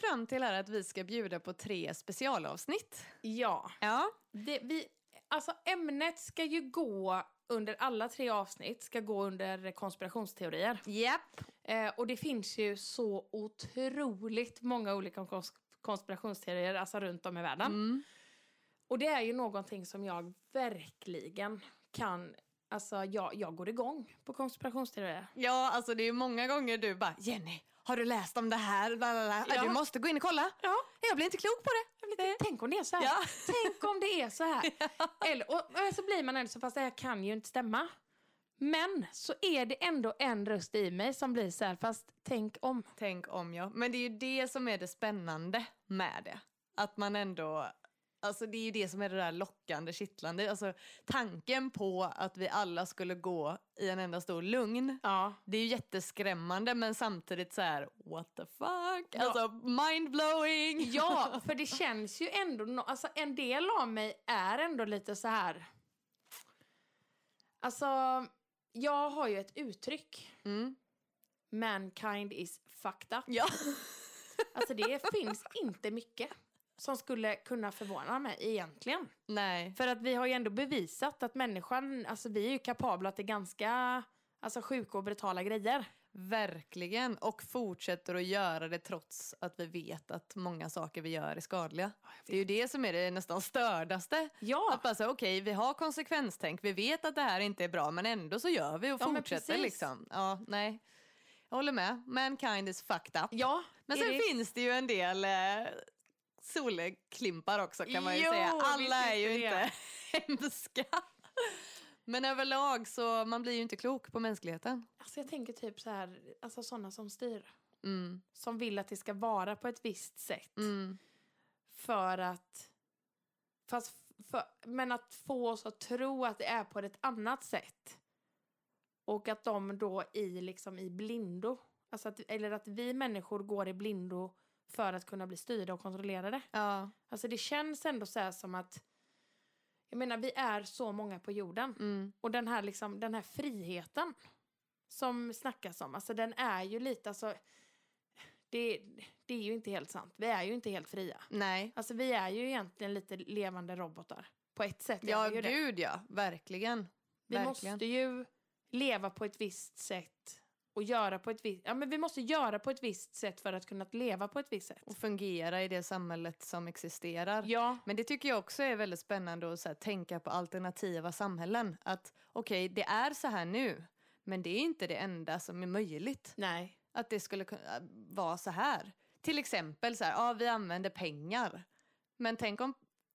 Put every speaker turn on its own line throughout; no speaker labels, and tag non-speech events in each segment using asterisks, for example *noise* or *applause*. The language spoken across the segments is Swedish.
fram till här att vi ska bjuda på tre specialavsnitt.
Ja.
Ja,
Det, vi, alltså ämnet ska ju gå under alla tre avsnitt, ska gå under konspirationsteorier.
japp.
Eh, och det finns ju så otroligt många olika kons konspirationsteorier alltså runt om i världen.
Mm.
Och det är ju någonting som jag verkligen kan... Alltså jag, jag går igång på konspirationsteorier.
Ja, alltså det är ju många gånger du bara Jenny, har du läst om det här? Bla, bla, bla.
Ja.
Du måste gå in och kolla.
Ja.
Jag blir inte klok på det. Eh.
Lite, tänk om det är så här.
Ja.
*laughs* Tänk om det är så
*laughs*
här. Eller, och, och så blir man ändå så fast det här kan ju inte stämma. Men så är det ändå en röst i mig som blir så här, fast tänk om.
Tänk om jag. Men det är ju det som är det spännande med det. Att man ändå... Alltså det är ju det som är det där lockande, kittlande. Alltså tanken på att vi alla skulle gå i en enda stor lugn.
Ja.
Det är ju jätteskrämmande men samtidigt så här what the fuck? Alltså mindblowing! *laughs*
Ja, för det känns ju ändå, nå- alltså en del av mig är ändå lite så här. Alltså, jag har ju ett uttryck.
Mm.
Mankind is fucked up.
Ja. *laughs*
Alltså det finns inte mycket som skulle kunna förvåna mig egentligen.
Nej.
För att vi har ju ändå bevisat att människan, alltså vi är ju kapabla till ganska alltså, sjuka och brutala grejer.
Verkligen. Och fortsätter att göra det trots att vi vet att många saker vi gör är skadliga. Det är ju det som är det nästan stördaste.
Ja.
Att bara säga okej, vi har konsekvenstänk, vi vet att det här inte är bra men ändå så gör vi och
Ja, men
fortsätter
precis.
liksom. Ja, nej. Jag håller med. Mankind is fucked up.
Ja,
men
är
sen
det-
finns det ju en del eh, solklimpar också kan man ju
Jo,
säga.
visst
Alla är ju
finns det
inte *laughs* hemska. Men överlag så man blir ju inte klok på mänskligheten.
Alltså jag tänker typ så här, alltså sådana som styr.
Mm,
Som vill att det ska vara på ett visst sätt. För att, fast för, men att få oss att tro att det är på ett annat sätt. Och att de då i, liksom, i blindo, alltså att, eller att vi människor går i blindo för att kunna bli styrda och kontrollerade.
Ja.
Alltså det känns ändå så här som att jag menar vi är så många på jorden
Mm.
och den här liksom den här friheten som snackas om alltså den är ju lite alltså det, det är ju inte helt sant. Vi är ju inte helt fria.
Nej.
Alltså vi är ju egentligen lite levande robotar på ett sätt. är
Ja,
vi ju det.
gud ja. Verkligen.
Vi
Verkligen.
måste ju leva på ett visst sätt och göra på ett visst ja men vi måste göra på ett visst sätt för att kunna leva på ett visst sätt.
Och fungera i det samhället som existerar.
Ja.
Men det tycker jag också är väldigt spännande att så här, tänka på alternativa samhällen. Att okej, det är så här nu, men det är inte det enda som är möjligt.
Nej.
Att det skulle kunna äh, vara så här. Till exempel så här, ja vi använder pengar. Men tänk om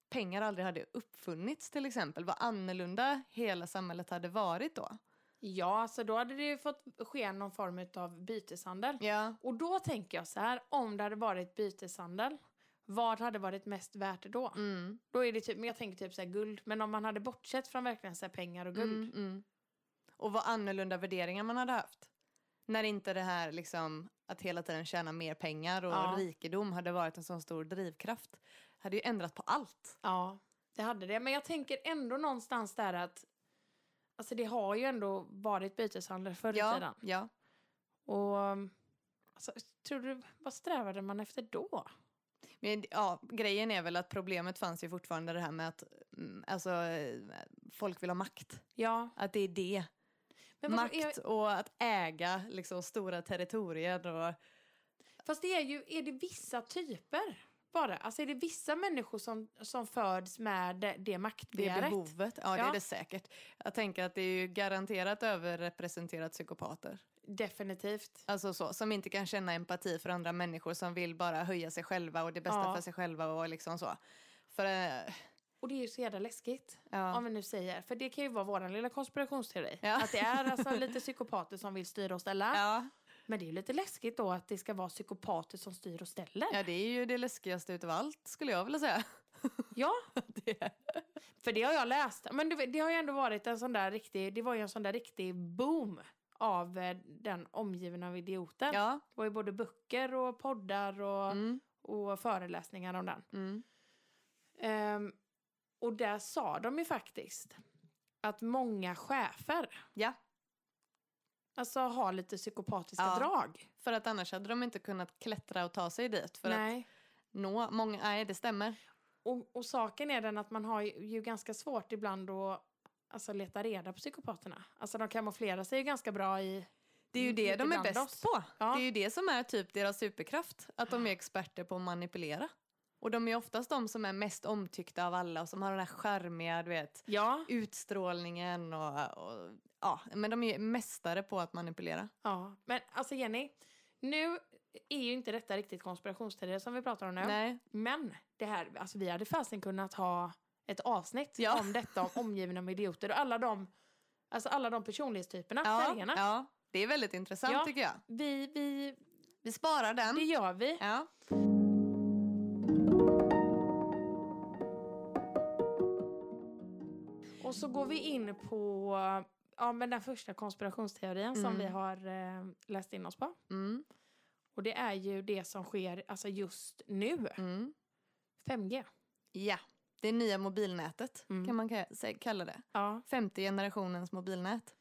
pengar aldrig hade uppfunnits till exempel. Vad annorlunda hela samhället hade varit då.
Ja, alltså då hade det ju fått ske någon form av byteshandel.
Ja.
Och då tänker jag så här, om det hade varit byteshandel, vad hade varit mest värt då?
Mm.
Då är det typ, men jag tänker typ så här guld, men om man hade bortsett från verkligen så här pengar och
Mm.
guld.
Och vad annorlunda värderingar man hade haft. När inte det här liksom att hela tiden tjäna mer pengar och
Ja.
rikedom hade varit en sån stor drivkraft. Hade ju ändrat på allt.
Ja, det hade det. Men jag tänker ändå någonstans där att, alltså det har ju ändå varit byteshandel förr i tiden.
Ja, ja.
Och, alltså, tror du, vad strävade man efter då?
Men, ja, grejen är väl att problemet fanns ju fortfarande det här med att mm, alltså, eh, folk vill ha makt.
Ja,
Att det är det.
men vadå, är-
Makt och att äga liksom, stora territorier. Och,
Fast det är ju, är det vissa typer bara? Alltså är det vissa människor som, som föds med det, det
det
maktbegäret?
behovet. Ja, det
Ja.
är det säkert. Jag tänker att det är ju garanterat överrepresenterat psykopater.
Definitivt.
Alltså så, som inte kan känna empati för andra människor som vill bara höja sig själva och det bästa
Ja.
för sig själva och liksom så. För, eh,
Och det är ju så jävla läskigt.
Ja.
Om vi nu säger. För det kan ju vara vår lilla konspirationsteori.
Ja.
Att det är
*laughs*
alltså lite psykopater som vill styra och ställa.
ja.
Men det är ju lite läskigt då att det ska vara psykopater som styr och ställer.
ja, det är ju det läskigaste utav allt skulle jag vilja säga.
Ja,
*laughs* Det är-
för det har jag läst. Men det, det har ju ändå varit en sån där riktig, det var ju en sån där riktig boom av eh, den omgivna av idioter.
Ja.
Det var ju både böcker och poddar och,
Mm.
och föreläsningar om den. Ehm, och där sa de ju faktiskt att många chefer
Ja,
Alltså ha lite psykopatiska
Ja.
drag.
För att annars hade de inte kunnat klättra och ta sig dit. För att
Nej.
nå många, nej det stämmer.
Och, och saken är den att man har ju, ju ganska svårt ibland att alltså, leta reda på psykopaterna. Alltså de kamouflerar sig ju ganska bra i...
Det är ju
Mm,
det
lite
de är
bland
bäst
oss.
på.
Ja.
Det är ju det som är typ deras superkraft. Att de är experter på att manipulera. Och de är oftast de som är mest omtyckta av alla och som har den här charmiga, du vet,
Ja.
utstrålningen och, och ja, men de är ju mästare på att manipulera.
ja. Men alltså Jenny, nu är ju inte detta riktigt konspirationsteorier som vi pratar om nu.
Nej.
Men det här, alltså vi hade fasen kunnat ha ett avsnitt
Ja.
om detta, om omgivna med idioter och alla de, alltså alla de personlighetstyperna,
Ja,
färgerna.
ja, det är väldigt intressant
Ja.
tycker jag.
Vi, vi,
Vi sparar den.
det gör vi.
Ja.
Och så går vi in på ja, men den första konspirationsteorin som
Mm.
vi har eh, läst in oss på.
Mm,
Och det är ju det som sker alltså just nu.
mm.
5G.
Ja, det nya mobilnätet
Mm.
kan man ka- sä- kalla det.
Ja.
Femte generationens mobilnät.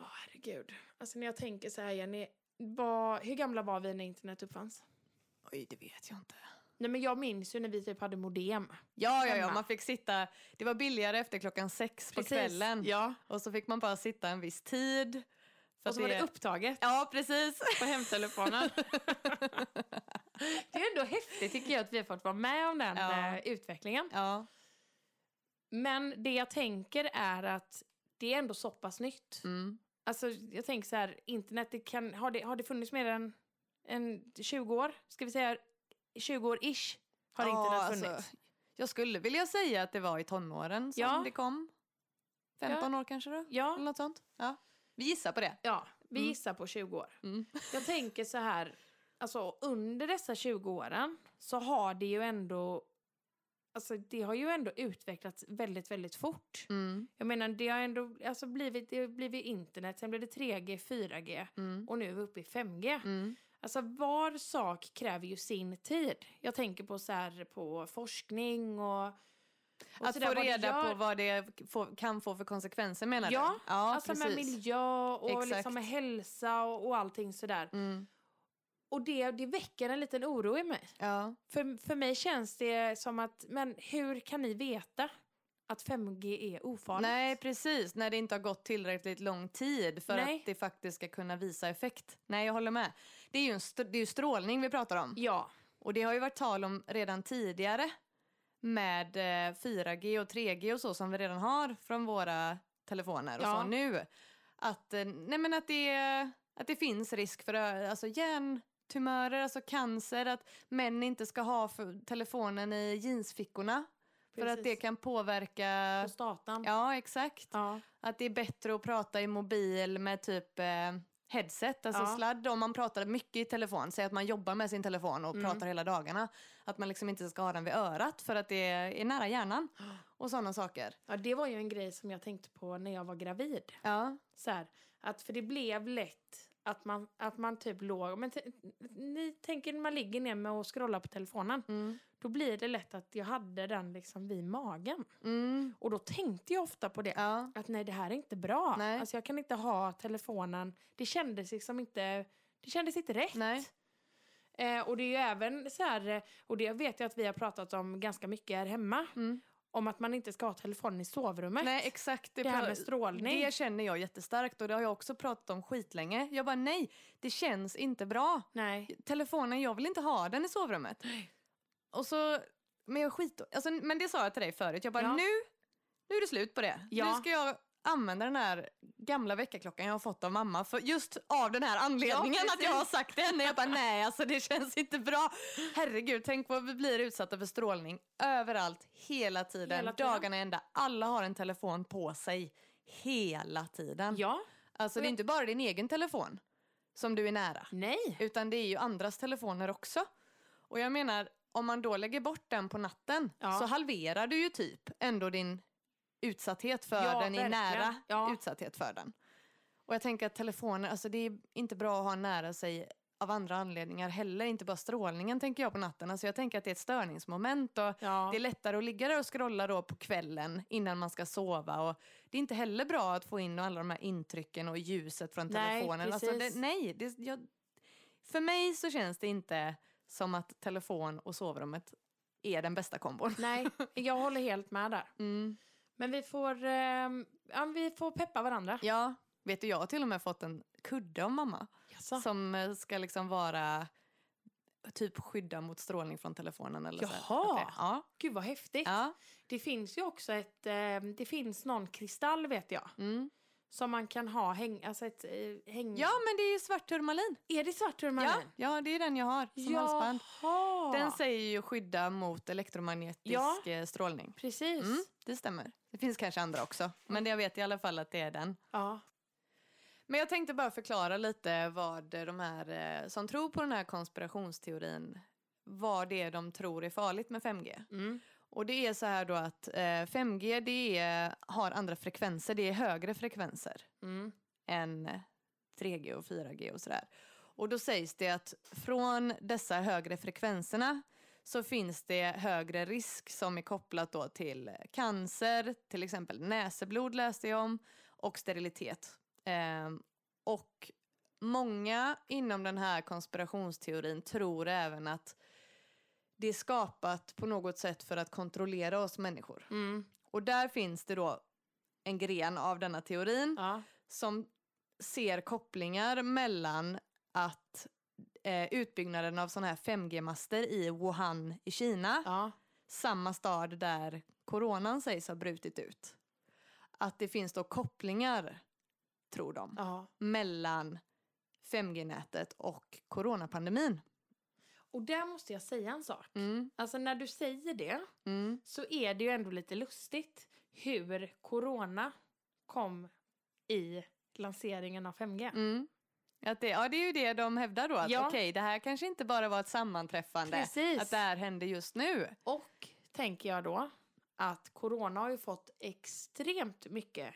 Åh, herregud. Alltså när jag tänker så här Jenny, vad, hur gamla var vi när internet uppfanns?
Oj, det vet jag inte.
Nej men jag minns ju när vi typ hade modem.
Ja, ja, ja,
Hemma.
man fick sitta. Det var billigare efter klockan sex på kvällen.
Ja.
Och så fick man bara sitta en viss tid. För
Och så
att
var det upptaget
Ja, precis. *laughs*
på hemtelefonen. *laughs* det är ändå häftigt tycker jag att vi har fått vara med om den
Ja.
eh, utvecklingen.
Ja,
Men det jag tänker är att det är ändå så pass nytt.
mm.
Alltså jag tänker så här, internet, det kan, har, det, har det funnits mer än, än 20 år? Ska vi säga 20 år-ish har
Ja,
internet
alltså,
funnits?
Jag skulle vilja säga att det var i tonåren som
Ja.
det kom. 15 år kanske då?
ja,
Eller något sånt. Ja. Vi gissar på det.
ja, vi
Mm.
gissar på 20 år.
Mm. *laughs*
Jag tänker så här, alltså under dessa 20 åren så har det ju ändå, alltså det har ju ändå utvecklats väldigt, väldigt fort.
Mm.
Jag menar det har ändå alltså blivit, det har blivit internet, sen blev det 3G, 4G
Mm.
och nu är vi uppe i 5G.
Mm.
Alltså var sak kräver ju sin tid. Jag tänker på så här, på forskning och... och
Att
så där,
få
vad det
reda
gör.
på vad det få, kan få för konsekvenser menar
Ja,
du? Ja,
alltså med miljö och
Exakt.
liksom med hälsa och, och allting sådär.
Mm.
Och det, det väcker en liten oro i mig.
Ja.
För, för mig känns det som att, men hur kan ni veta att 5G är ofarligt?
Nej, precis. När det inte har gått tillräckligt lång tid för
Nej.
att det faktiskt ska kunna visa effekt. Nej, jag håller med. Det är ju, en st- det är ju strålning vi pratar om.
Ja,
Och det har ju varit tal om redan tidigare med eh, 4G och 3G och så som vi redan har från våra telefoner och
Ja.
så nu. Att, eh, nej men att, det, att det finns risk för eh, alltså hjärntumörer, alltså cancer, att män inte ska ha för, telefonen i jeansfickorna. För att det
Precis.
kan påverka...
på staten.
Ja, exakt.
Ja.
Att det är bättre att prata i mobil med typ eh, headset, alltså
Ja.
sladd. Om man pratar mycket i telefon, säg att man jobbar med sin telefon och
Mm.
pratar hela dagarna. Att man liksom inte ska ha den vid örat för att det är
*gasps*
nära hjärnan. Och sådana saker.
ja, det var ju en grej som jag tänkte på när jag var gravid.
Ja.
Så här, att för det blev lätt att man, att man typ låg... Men t- ni tänker när man ligger ner med och scrollar på telefonen.
Mm.
Då blir det lätt att jag hade den liksom vid magen.
Mm.
Och då tänkte jag ofta på det.
Ja.
Att nej, det här är inte bra.
Nej.
Alltså jag kan inte ha telefonen. Det kändes liksom inte... Det kändes inte rätt.
Nej.
Eh, och det är ju även så här... eh, Och det vet jag att vi har pratat om ganska mycket här hemma.
Mm.
Om att man inte ska ha telefonen i sovrummet.
Nej, exakt.
Det här
pra-
med strålning.
Det känner jag jättestarkt och det har jag också pratat om skitlänge. Jag bara nej, det känns inte bra.
Nej.
telefonen, jag vill inte ha den i sovrummet. Och så, men jag skit... Alltså, men det sa jag till dig förut, jag bara
Ja.
nu, nu är det slut på det.
Ja.
Nu ska jag använda den här gamla väckarklockan jag har fått av mamma för just av den här anledningen
Ja,
att jag har sagt det
*laughs*
henne. Jag bara nej alltså det känns inte bra. Herregud tänk vad vi blir utsatta för strålning överallt hela tiden,
Hela tiden.
dagarna ända. Alla har en telefon på sig hela tiden.
Ja.
Alltså det är inte bara din egen telefon som du är nära.
Nej.
Utan det är ju andras telefoner också. Och jag menar, om man då lägger bort den på natten
Ja.
så halverar du ju typ ändå din utsatthet för
Ja,
den, i
verkligen.
nära
Ja.
utsatthet för den. Och jag tänker att telefoner, alltså det är inte bra att ha nära sig av andra anledningar heller, inte bara strålningen tänker jag på natten. Alltså jag tänker att det är ett störningsmoment och
Ja.
det är lättare att ligga där och scrolla då på kvällen innan man ska sova och det är inte heller bra att få in alla de här intrycken och ljuset från
Nej,
telefonen. Alltså det,
precis.
nej, det, jag, för mig så känns det inte som att telefon och sovrummet är den bästa kombon.
Nej, jag håller helt med där.
Mm.
Men vi får, eh, ja, vi får peppa varandra.
Ja, vet du jag har till och med fått en kudde av mamma.
Jaså?
Som eh, ska liksom vara typ skydda mot strålning från telefonen. Eller Så här.
Jaha.
Att det- Ja.
Gud vad häftigt.
ja.
Det finns ju också ett, eh, det finns någon kristall vet jag.
Mm.
Som man kan ha, häng, alltså ett eh, häng...
ja, men det är ju svart turmalin.
Är det svart
Ja,
turmalin?
ja, det är den jag har som halsband.
Jaha!
Den säger ju skydda mot elektromagnetisk
Ja.
eh, strålning.
Precis. Mm.
Mm, det stämmer. Det finns kanske andra också, men det jag vet i alla fall att det är den.
Ja.
Men jag tänkte bara förklara lite vad eh, de här eh, som tror på den här konspirationsteorin, vad det är de tror är farligt med 5G.
Mm.
Och det är så här då att eh, 5G det är, har andra frekvenser, det är högre frekvenser
Mm.
än 3G och 4G och sådär. Och då sägs det att från dessa högre frekvenserna så finns det högre risk som är kopplat då till cancer, till exempel näseblod läste jag om, och sterilitet. Ehm, och många inom den här konspirationsteorin tror även att det är skapat på något sätt för att kontrollera oss människor.
Mm.
Och där finns det då en gren av denna teorin
Ja.
som ser kopplingar mellan att eh, utbyggnaden av sådana här 5G-master i Wuhan i Kina,
ja.
samma stad där coronan sägs ha brutit ut. Att det finns då kopplingar, tror de,
Ja.
mellan 5G-nätet och coronapandemin.
Och där måste jag säga en sak.
Mm,
Alltså när du säger det
mm,
så är det ju ändå lite lustigt hur corona kom i lanseringen av 5G.
mm. Att det, ja, det är ju det de hävdar då, att
Ja.
okej, det här kanske inte bara var ett sammanträffande,
Precis.
att det här hände just nu.
Och tänker jag då att corona har ju fått extremt mycket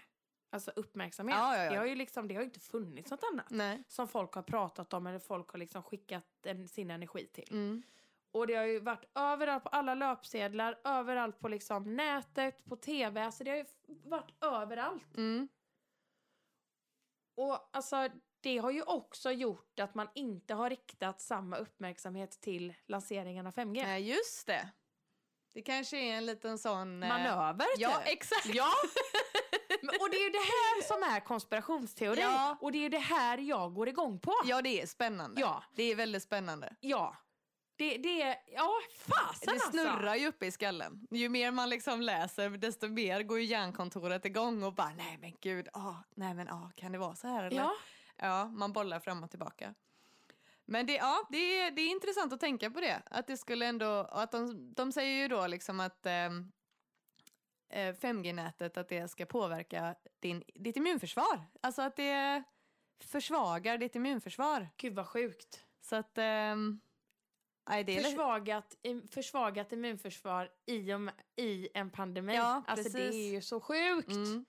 alltså uppmärksamhet.
Ja, ja, ja.
Det, har ju liksom, det har ju inte funnits något annat
Nej.
som folk har pratat om eller folk har liksom skickat en, sin energi till.
Mm.
Och det har ju varit överallt på alla löpsedlar, överallt på liksom nätet, på tv. Alltså det har ju f- varit överallt.
Mm.
Och alltså, det har ju också gjort att man inte har riktat samma uppmärksamhet till lanseringen av 5G.
Nej, Eh, just det. Det kanske är en liten sån... eh,
Manöver
Ja,
typ.
exakt.
Ja! *laughs* Men- Och det är ju det här som är konspirationsteori.
Ja.
Och det är ju det här jag går igång på.
Ja, det är spännande.
Ja.
Det är väldigt spännande.
Ja. Det, det är... Ja, fasen alltså.
det snurrar ju uppe i skallen. Ju mer man liksom läser, desto mer går ju hjärnkontoret igång och bara nej men gud, ah, nej men ah, kan det vara så här eller?
Ja.
ja, man bollar fram och tillbaka. Men det, ja, det, är, det är intressant att tänka på det. Att det skulle ändå, och att de, de säger ju då liksom att ehm, eh, 5G-nätet att det ska påverka din, ditt immunförsvar. Alltså att det försvagar ditt immunförsvar.
Gud vad sjukt.
Så att... ehm, nej, det är lite-
Försvagat, im- försvagat immunförsvar i, och med, i en pandemi.
Ja,
alltså det
precis.
är ju så sjukt.
Mm.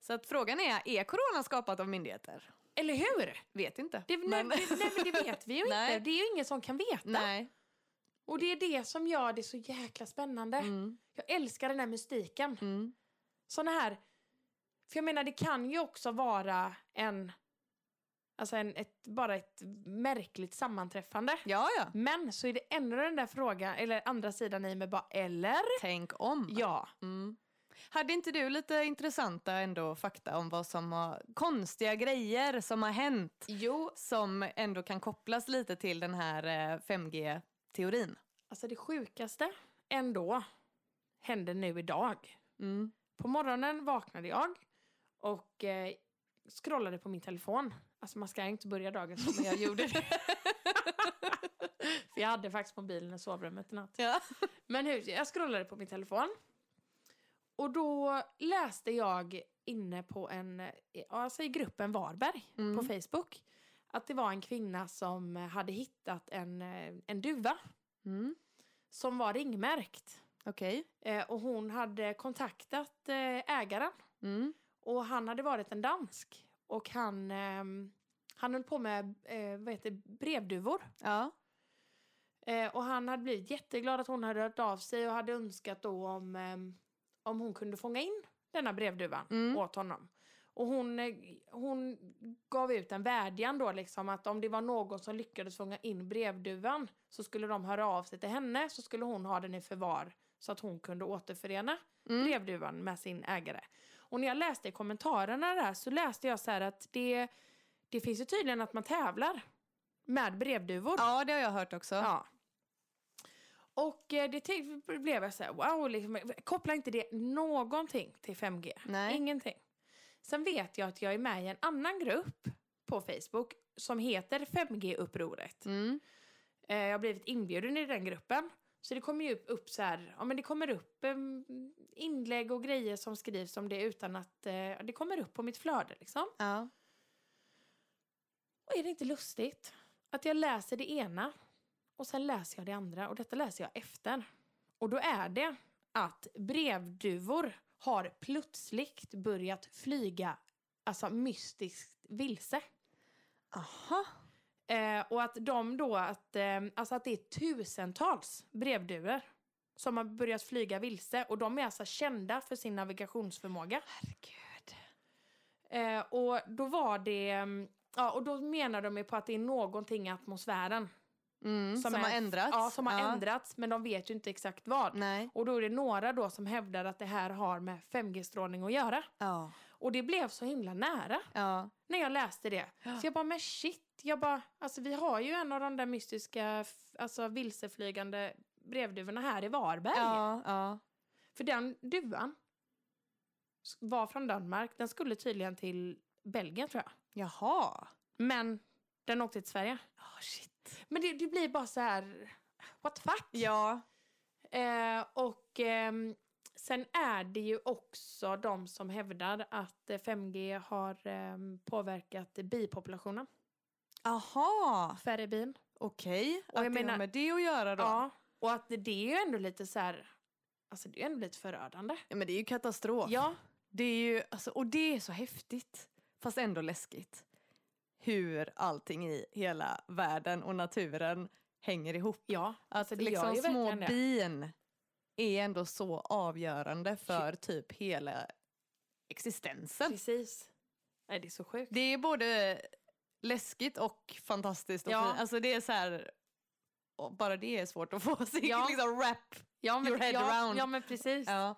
Så att frågan är, är corona skapat av myndigheter?
Eller hur?
Vet inte.
Det, nej,
Men-
det, nej, men det vet vi ju inte.
Nej.
Det är ju ingen som kan veta.
*laughs* Nej.
Och det är det som gör det så jäkla spännande.
Mm.
Jag älskar den här mystiken.
Mm.
såna här... För jag menar, det kan ju också vara en... Alltså en, ett, bara ett märkligt sammanträffande.
Ja, ja.
Men så är det ändå den där frågan, eller andra sidan i mig bara, eller?
Tänk om.
Ja.
Mm. Hade inte du lite intressanta ändå fakta om vad som har, konstiga grejer som har hänt
Jo.
som ändå kan kopplas lite till den här eh, 5G-teorin?
Alltså det sjukaste ändå hände nu idag.
Mm.
På morgonen vaknade jag och eh, scrollade på min telefon. Alltså man ska inte börja dagen så, men jag
*laughs*
gjorde det. För jag hade faktiskt mobilen i sovrummet i natt.
Ja.
Men hur, jag scrollade på min telefon. Och då läste jag inne på en, ja, alltså i gruppen Varberg
Mm.
på Facebook. Att det var en kvinna som hade hittat en, eh, en duva
Mm.
som var ringmärkt.
Okej.
Eh, och hon hade kontaktat eh, ägaren.
Mm.
Och han hade varit en dansk. Och han, ehm, Han höll på med eh, vad heter, det, brevduvor.
Ja.
Eh, och han hade blivit jätteglad att hon hade hört av sig och hade önskat då om, ehm, om hon kunde fånga in denna brevduvan
Mm.
åt honom. Och hon, eh, hon gav ut en vädjan då liksom att om det var någon som lyckades fånga in brevduvan så skulle de höra av sig till henne så skulle hon ha den i förvar så att hon kunde återförena
Mm.
brevduvan med sin ägare. Och när jag läste i kommentarerna där så läste jag så här att det, det finns ju tydligen att man tävlar med brevduvor.
ja, det har jag hört också.
Ja. Och eh, det till- blev jag så här, wow, liksom, koppla inte det någonting till 5G.
Nej.
Ingenting. Sen vet jag att jag är med i en annan grupp på Facebook som heter 5G-upproret.
Mm.
Eh, jag har blivit inbjuden i den gruppen. Så det kommer ju upp, upp så här, ja men det kommer upp eh, inlägg och grejer som skrivs om det utan att eh, det kommer upp på mitt flöde liksom.
Ja.
Och är det inte lustigt att jag läser det ena och sen läser jag det andra och detta läser jag efter. Och då är det att brevduvor har plötsligt börjat flyga alltså mystiskt vilse.
Aha.
Eh, och att de då, att, eh, alltså att det är tusentals brevduvor som har börjat flyga vilse och de är alltså kända för sin navigationsförmåga.
Herregud.
Eh, och då var det, mm, ja och då menar de ju på att det är någonting i atmosfären
Mm. Som,
är-
har ändrats.
Ja, som har ändrats men de vet ju inte exakt vad.
Nej.
Och då är det några då som hävdar att det här har med 5G-strålning att göra.
Ja.
Och det blev så himla nära
Ja.
när jag läste det. Så jag bara, men shit, jag bara, alltså vi har ju en av de där mystiska, f- alltså vilseflygande brevduvorna här i Varberg.
Ja. ja.
För den duvan s- var från Danmark, den skulle tydligen till Belgien tror jag.
Jaha.
Men den åkte till Sverige.
Oh, shit.
Men det, det blir bara så här, what the fuck?
Ja.
Eh, och ehm, sen är det ju också de som hävdar att eh, 5G har ehm, påverkat bipopulationen.
Aha.
Färre bin.
Okej. Att
jag
det
menar-
har med det att göra då?
Ja. Och att det, det är ju ändå lite så här, alltså det är ändå lite förödande.
Ja, men det är ju katastrof.
Ja.
Det är ju, alltså, och det är så häftigt, fast ändå läskigt. Hur allting i hela världen och naturen hänger ihop.
Ja.
Att
Alltså, det gör
liksom
ju
små
verkligen det.
bin är ändå så avgörande för typ hela existensen.
Precis. Nej, det är så sjukt.
Det är både läskigt och fantastiskt. Och
Ja.
fint. Alltså det är så här, och bara det är svårt att få *laughs* sig
Ja.
liksom rap.
Ja,
your head
ja,
around.
Ja, men precis.
Ja.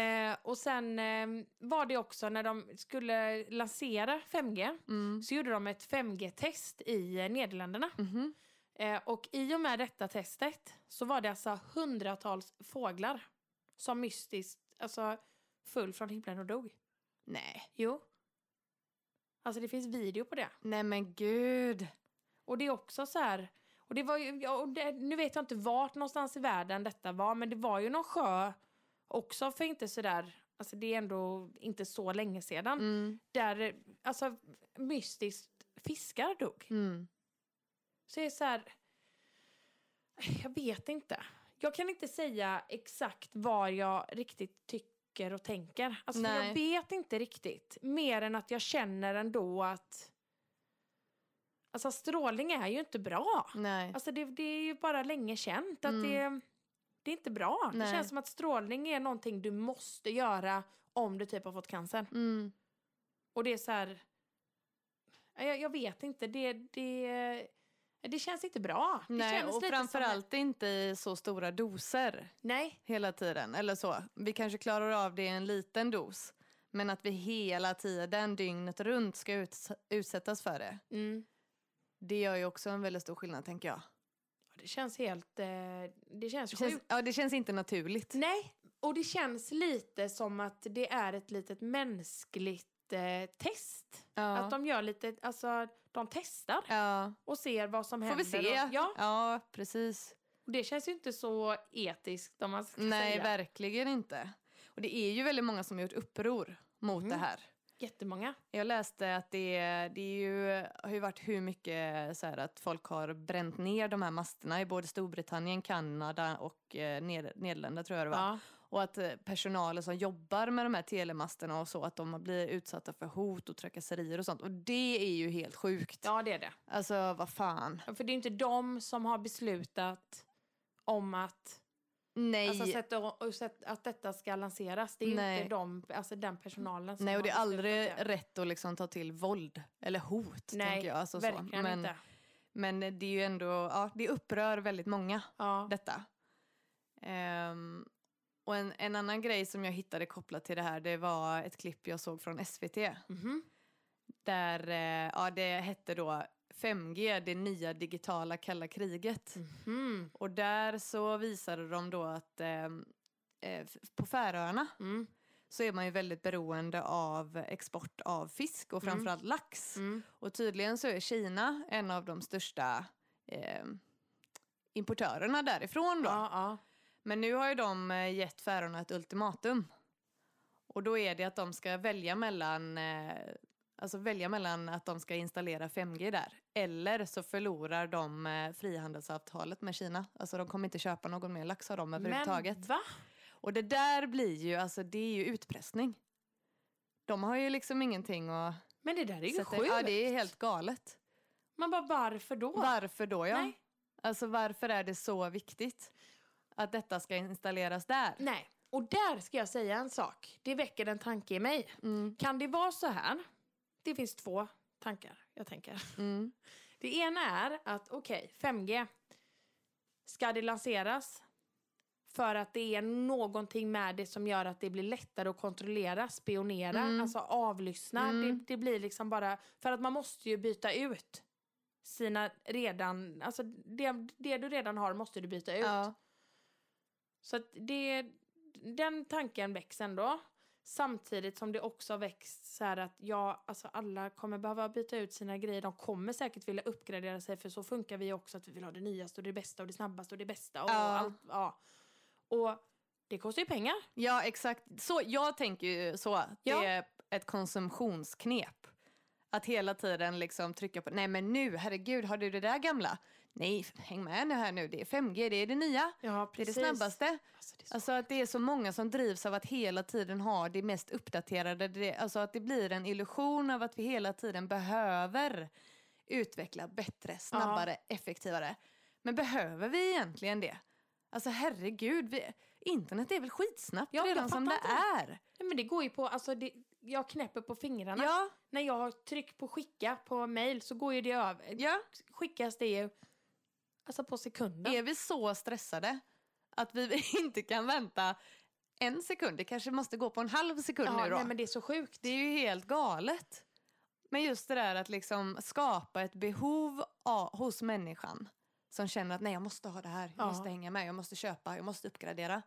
Eh, och sen ehm, var det också när de skulle lansera 5G
Mm.
så gjorde de ett 5G-test i eh, Nederländerna.
Mhm.
Eh, och i och med detta testet så var det alltså hundratals fåglar som mystiskt alltså, föll från himlen och dog.
Nej.
Jo. Alltså det finns video på det.
Nej men gud.
Och det är också så här... Och det var ju, ja, och det, nu vet jag inte vart någonstans i världen detta var men det var ju någon sjö också för inte så där... Alltså det är ändå inte så länge sedan.
Mm.
Där eh, alltså, mystiskt fiskar dog.
Mm.
Så jag är så här... Jag vet inte. Jag kan inte säga exakt vad jag riktigt tycker och tänker. Alltså, för
Nej.
jag vet inte riktigt. Mer än att jag känner ändå att... Alltså strålning är ju inte bra.
Nej.
Alltså det, det är ju bara länge känt att det,
Mm.
det är inte bra.
Nej.
Det känns som att strålning är någonting du måste göra om du typ har fått cancer.
Mm.
Och det är så här... Nej, Jag, jag vet inte. Det, det, det känns inte bra. det
Nej,
känns
och
lite som en-
framförallt inte i så stora doser
Nej,
hela tiden. Eller så. Vi kanske klarar av det i en liten dos. Men att vi hela tiden, dygnet runt, ska uts- utsättas för det.
Mm.
Det gör ju också en väldigt stor skillnad, tänker jag.
Ja, Det känns helt... Eh, det känns
Det
sjukt.
känns, ja, det känns inte naturligt.
Nej, och det känns lite som att det är ett litet mänskligt eh, test.
Ja.
Att de gör lite... Alltså, de testar
ja.
och ser vad som
Får vi
händer.
se?
Och, ja,
ja, precis.
och det känns ju inte så etiskt om man ska
Nej,
säga.
verkligen inte. Och det är ju väldigt många som har gjort uppror mot
Mm.
det här.
Jättemånga. Jag
Jag läste att det, är- det är ju, har ju varit hur mycket så här, att folk har bränt ner de här masterna i både Storbritannien, Kanada och eh, Neder- Nederländerna tror jag det var.
ja.
Och att eh, personalen som jobbar med de här telemasterna och så, att de blir utsatta för hot och trakasserier och sånt. Och det är ju helt sjukt.
Ja, det är det.
Alltså vad fan.
Ja, För det är inte de som har beslutat om att,
Nej.
alltså, sätta, och sätt, att detta ska lanseras. Det är ju
Nej.
inte de, alltså, den personalen som
Nej, och det är
har beslutat
aldrig
det.
rätt att liksom ta till våld eller hot.
Nej,
tänker jag. Alltså, så.
verkligen
Men,
inte.
men det är ju ändå, ja, det upprör väldigt många
Ja.
detta. Ehm, och en, en annan grej som jag hittade kopplat till det här, det var ett klipp jag såg från SVT.
Mhm.
Där, eh, ja det hette då 5G, det nya digitala kalla kriget.
Mhm.
Och där så visade de då att ehm, eh, f- på Färöarna
Mm.
så är man ju väldigt beroende av export av fisk och
Mm.
framförallt lax.
Mm.
Och tydligen så är Kina en av de största eh, importörerna därifrån då.
Ja, ja.
Men nu har ju de eh, gett Färöarna ett ultimatum. Och då är det att de ska välja mellan, eh, alltså välja mellan att de ska installera 5G där. Eller så förlorar de eh, frihandelsavtalet med Kina. Alltså de kommer inte köpa någon mer lax av dem överhuvudtaget.
Men va?
Och det där blir ju, alltså det är ju utpressning. De har ju liksom ingenting att...
Men det där är ju
sätta-
sjukt.
Ja, det är helt galet.
Man bara, varför då?
Varför då ja?
Nej.
Alltså varför är det så viktigt att detta ska installeras där?
Nej. Och där ska jag säga en sak. Det väcker en tanke i mig.
Mm,
Kan det vara så här? Det finns två tankar jag tänker.
mm,
Det ena är att okej, 5G. Ska det lanseras? För att det är någonting med det som gör att det blir lättare att kontrollera, spionera,
Mm.
alltså avlyssna.
Mm.
Det, det blir liksom bara... För att man måste ju byta ut sina redan... Alltså det, det du redan har måste du byta ut.
ja.
Så att det, den tanken väcks ändå. Samtidigt som det också väcks så här att ja, alltså alla kommer behöva byta ut sina grejer. De kommer säkert vilja uppgradera sig för så funkar vi också att vi vill ha det nyaste och det bästa och det snabbaste och det bästa och
Ja.
allt. Ja. Och det kostar ju pengar.
ja, exakt. Så, jag tänker ju så.
Ja.
Det är ett konsumtionsknep. Att hela tiden liksom trycka på, nej men nu, herregud, har du det där gamla? Nej, häng med nu här nu, det är 5G, det är det nya,
Ja,
det är det snabbaste.
Alltså, det är så-
Alltså att det är så många som drivs av att hela tiden ha det mest uppdaterade. Det, alltså att det blir en illusion av att vi hela tiden behöver utveckla bättre, snabbare, effektivare. Men behöver vi egentligen det? Alltså herregud, vi, internet är väl skitsnabbt
Ja, jag
redan som det
fattar
är?
Nej, men det går ju på, alltså det, jag knäpper på fingrarna.
Ja,
När jag har tryck på skicka på mail så går ju det över.
ja.
Skickas det ju alltså på sekunden.
Är vi så stressade att vi *laughs* inte kan vänta en sekund? Det kanske måste gå på en halv sekund
ja,
nu då.
nej, men det är så sjukt.
Det är ju helt galet. Men just det där att liksom skapa ett behov a- hos människan som känner att nej, jag måste ha det här, jag
Ja.
måste hänga med, jag måste köpa, jag måste uppgradera.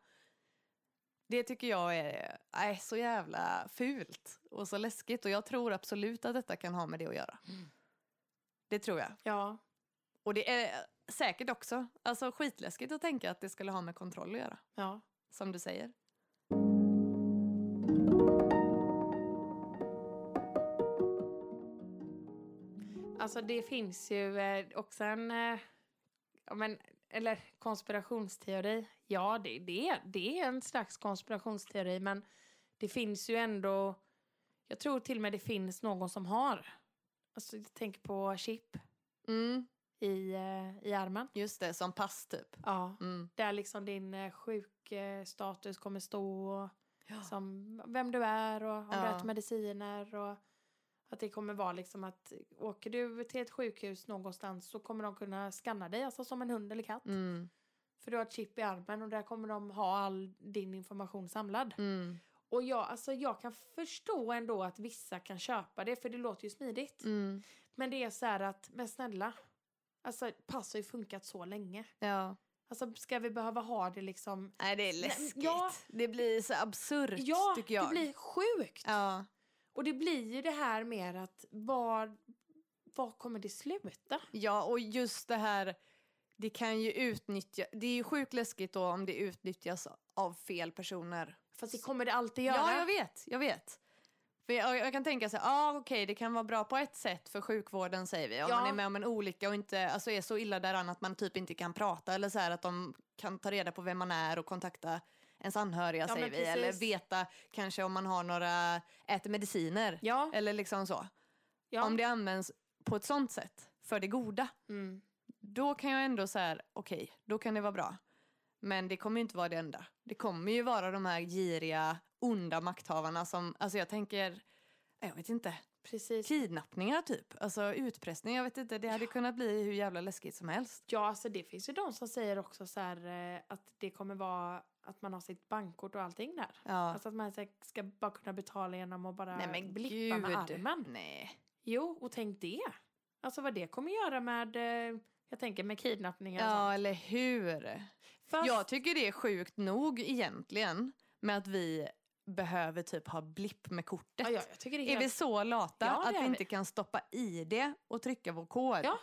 Det tycker jag är nej, så jävla fult och så läskigt och jag tror absolut att detta kan ha med det att göra. Det tror jag.
Ja,
Och det är säkert också alltså, skitläskigt att tänka att det skulle ha med kontroll att göra,
ja.
som du säger.
Alltså det finns ju eh, också en, eh, ja, men, eller konspirationsteori. Ja, det, det, är- det är en slags konspirationsteori men det finns ju ändå, jag tror till och med det finns någon som har. Alltså jag tänker på chip
Mm,
i, eh, i armen.
just det, som pass typ.
Ja,
Mm.
där liksom din eh, sjukstatus kommer stå och som vem du är och om du
Ja.
äter mediciner och att det kommer vara liksom att åker du till ett sjukhus någonstans så kommer de kunna scanna dig, alltså som en hund eller katt.
Mm.
För du har ett chip i armen och där kommer de ha all din information samlad.
Mm.
Och jag, alltså jag kan förstå ändå att vissa kan köpa det för det låter ju smidigt.
Mm.
Men det är så här att, men snälla, alltså pass har ju funkat så länge.
Ja.
Alltså ska vi behöva ha det liksom?
Nej, det är
men
läskigt.
ja.
Det blir så absurt,
Ja,
tycker jag.
det blir sjukt!
Ja,
Och det blir ju det här mer att var, var kommer det sluta?
ja, och just det här... Det kan ju utnyttja... Det är ju sjukt läskigt då om det utnyttjas av fel personer.
Fast det kommer det alltid göra.
Ja, jag vet. Jag vet. För jag, jag kan tänka så här, ah, okej, det kan vara bra på ett sätt för sjukvården säger vi. Om
Ja.
man är med om en olycka och inte, alltså, är så illa däran att man typ inte kan prata eller så här att de kan ta reda på vem man är och kontakta ens anhöriga
Ja,
säger
men
vi. Eller
precis.
veta kanske om man har några, äter mediciner.
Ja,
Eller liksom så.
ja.
Om det används på ett sånt sätt, för det goda.
Mm.
Då kan jag ändå så här, okej, då kan det vara bra. Men det kommer ju inte vara det enda. Det kommer ju vara de här giriga, onda makthavarna som, alltså jag tänker, jag vet inte,
precis.
kidnappningar typ. Alltså utpressning, jag vet inte, det hade kunnat bli hur jävla läskigt som helst.
Ja, alltså det finns ju de som säger också så här eh, att det kommer vara att man har sitt bankkort och allting där.
Ja.
Alltså att man så här ska bara kunna betala genom att bara
Nej men
blippa
gud.
med armen.
Nej.
Jo, och tänk det. Alltså vad det kommer göra med, eh, jag tänker med kidnappningar och
Ja,
sånt.
eller hur?
Fast,
Jag tycker det är sjukt nog egentligen med att vi behöver typ ha blipp med kortet.
ja, ja, jag tycker det är,
Är vi
helt...
så
Ja,
lata
det
att vi
är
inte
vi.
kan stoppa i det och trycka vår kod?
Ja.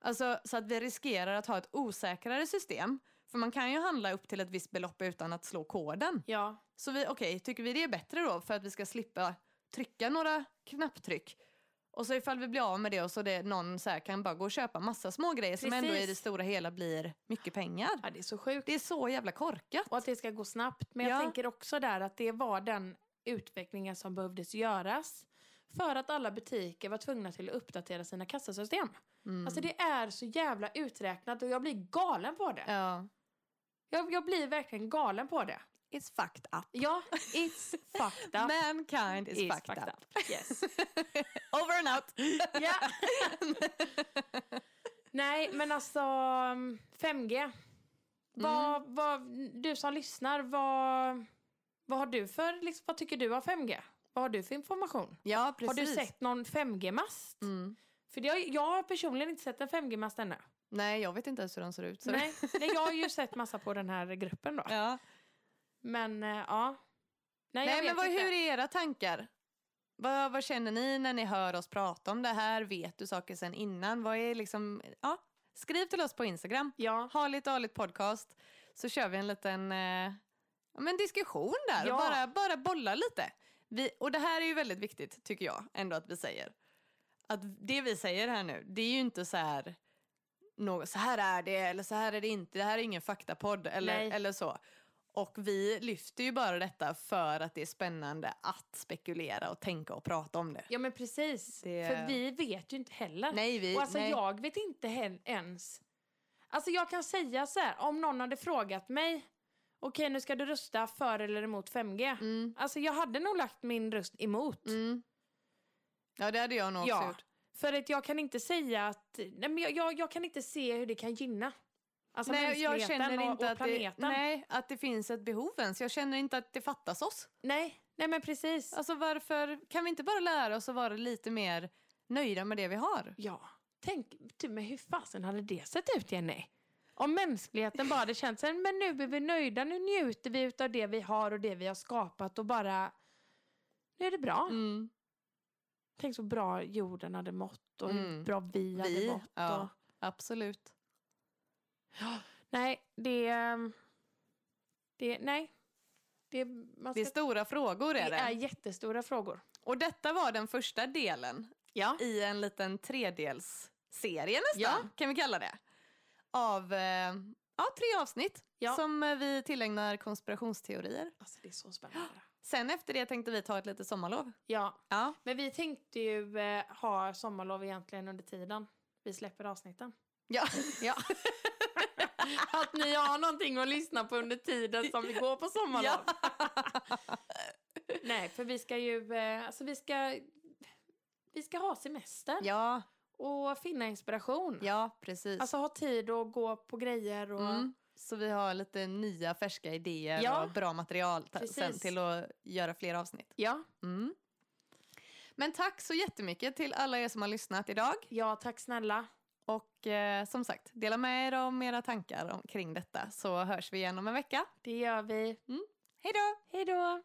Alltså, så att vi riskerar att ha ett osäkrare system. För man kan ju handla upp till ett visst belopp utan att slå koden.
Ja,
Så vi, okej, tycker vi det är bättre då för att vi ska slippa trycka några knapptryck? Och så ifall vi blir av med det och så det någon så här kan bara gå och köpa massa små grejer som ändå i
Precis.
det stora hela blir mycket pengar.
ja, det är så sjukt.
Det är så jävla korkat.
Och att det ska gå snabbt. Men
Ja.
jag tänker också där att det var den utvecklingen som behövdes göras. För att alla butiker var tvungna till att uppdatera sina kassasystem.
Mm.
Alltså det är så jävla uträknat och jag blir galen på det.
ja.
Jag, jag blir verkligen galen på det.
It's fucked up.
Ja, it's fucked
*laughs*
up.
Mankind is, fucked, up.
Yes.
Over and
*laughs*
out.
Ja. Nej, men alltså mm, 5G. Vad,
Mm.
vad, du som lyssnar, vad, vad har du för, liksom, vad tycker du om 5G? Vad har du för information?
Ja, precis.
Har du sett någon 5G-mast?
Mm.
För det har, jag har personligen inte sett en 5G-mast ännu.
Nej, jag vet inte ens hur de ser ut. Så Ah.
Nej, nej, jag har
*laughs*
ju sett massa på den här gruppen då.
Ja.
Men eh, ja. Nej, jag
Nej,
vet
men vad,
inte.
hur är era tankar? Vad, vad känner ni när ni hör oss prata om det här? Vet du saker sen innan? Vad är liksom... Ja, skriv till oss på Instagram.
Ja,
Harligt aligt podcast. Så kör vi en liten eh, ja, men diskussion där
Ja.
och bara, bara bolla lite. Vi, och det här är ju väldigt viktigt tycker jag ändå att vi säger. Att det vi säger här nu, det är ju inte så här något, så här är det eller så här är det inte. Det här är ingen faktapodd eller,
Nej.
eller så. Och vi lyfter ju bara detta för att det är spännande att spekulera och tänka och prata om det.
ja men precis.
Det-
För vi vet ju inte heller.
Nej, vi...
Och alltså
nej.
jag vet inte hen- ens. Alltså jag kan säga så här, om någon hade frågat mig. Okej nu ska du rösta för eller emot 5G.
Mm,
Alltså jag hade nog lagt min röst emot.
mm. Ja, det hade jag nog också
Ja.
gjort.
För att jag kan inte säga att, nej men jag, jag, jag kan inte se hur det kan gynna. Alltså
nej, jag
mänskligheten
känner
och,
inte
och
att, det,
planeten. nej.
nej, att det finns ett behov ens. Jag känner inte att det fattas oss.
nej, men precis.
Alltså varför kan vi inte bara lära oss att vara lite mer nöjda med det vi har?
Ja, tänk, du, men hur fasen hade det sett ut Jenny? Om mänskligheten bara hade känt sig, men nu är vi nöjda, nu njuter vi av det vi har och det vi har skapat och bara, nu är det bra.
Mm.
Tänk så bra jorden hade mått och hur
Mm.
bra vi hade
Vi,
mått.
ja.
Och,
Absolut.
nej, det, ehm, det, nej. Det, man
Det är
ska,
stora frågor
det
är det.
är jättestora frågor.
Och detta var den första delen
Ja.
i en liten tredelsserie nästan,
Ja.
kan vi kalla det. Av eh, ja, tre avsnitt
Ja.
som eh, vi tillägnar konspirationsteorier.
Alltså det är så spännande.
Sen efter det tänkte vi ta ett litet sommarlov.
Ja,
Ja.
men vi tänkte ju eh, ha sommarlov egentligen under tiden vi släpper avsnitten. *laughs*
Ja. ja.
Att ni har någonting att lyssna på under tiden som vi går på sommarlov. *laughs* Nej, för vi ska ju... eh, Alltså vi ska... Vi ska ha semester
ja.
och finna inspiration.
Ja, precis.
Alltså ha tid att gå på grejer och...
mm. Så vi har lite nya färska idéer
Ja.
och bra material ta- sen
Precis.
till att göra fler avsnitt.
Ja.
Mm. Men tack så jättemycket till alla er som har lyssnat idag.
ja, tack snälla.
Och eh, som sagt, dela med er om era tankar om, kring detta så hörs vi igen om en vecka. Mm.
Det gör vi.
Hej då!
Hej då!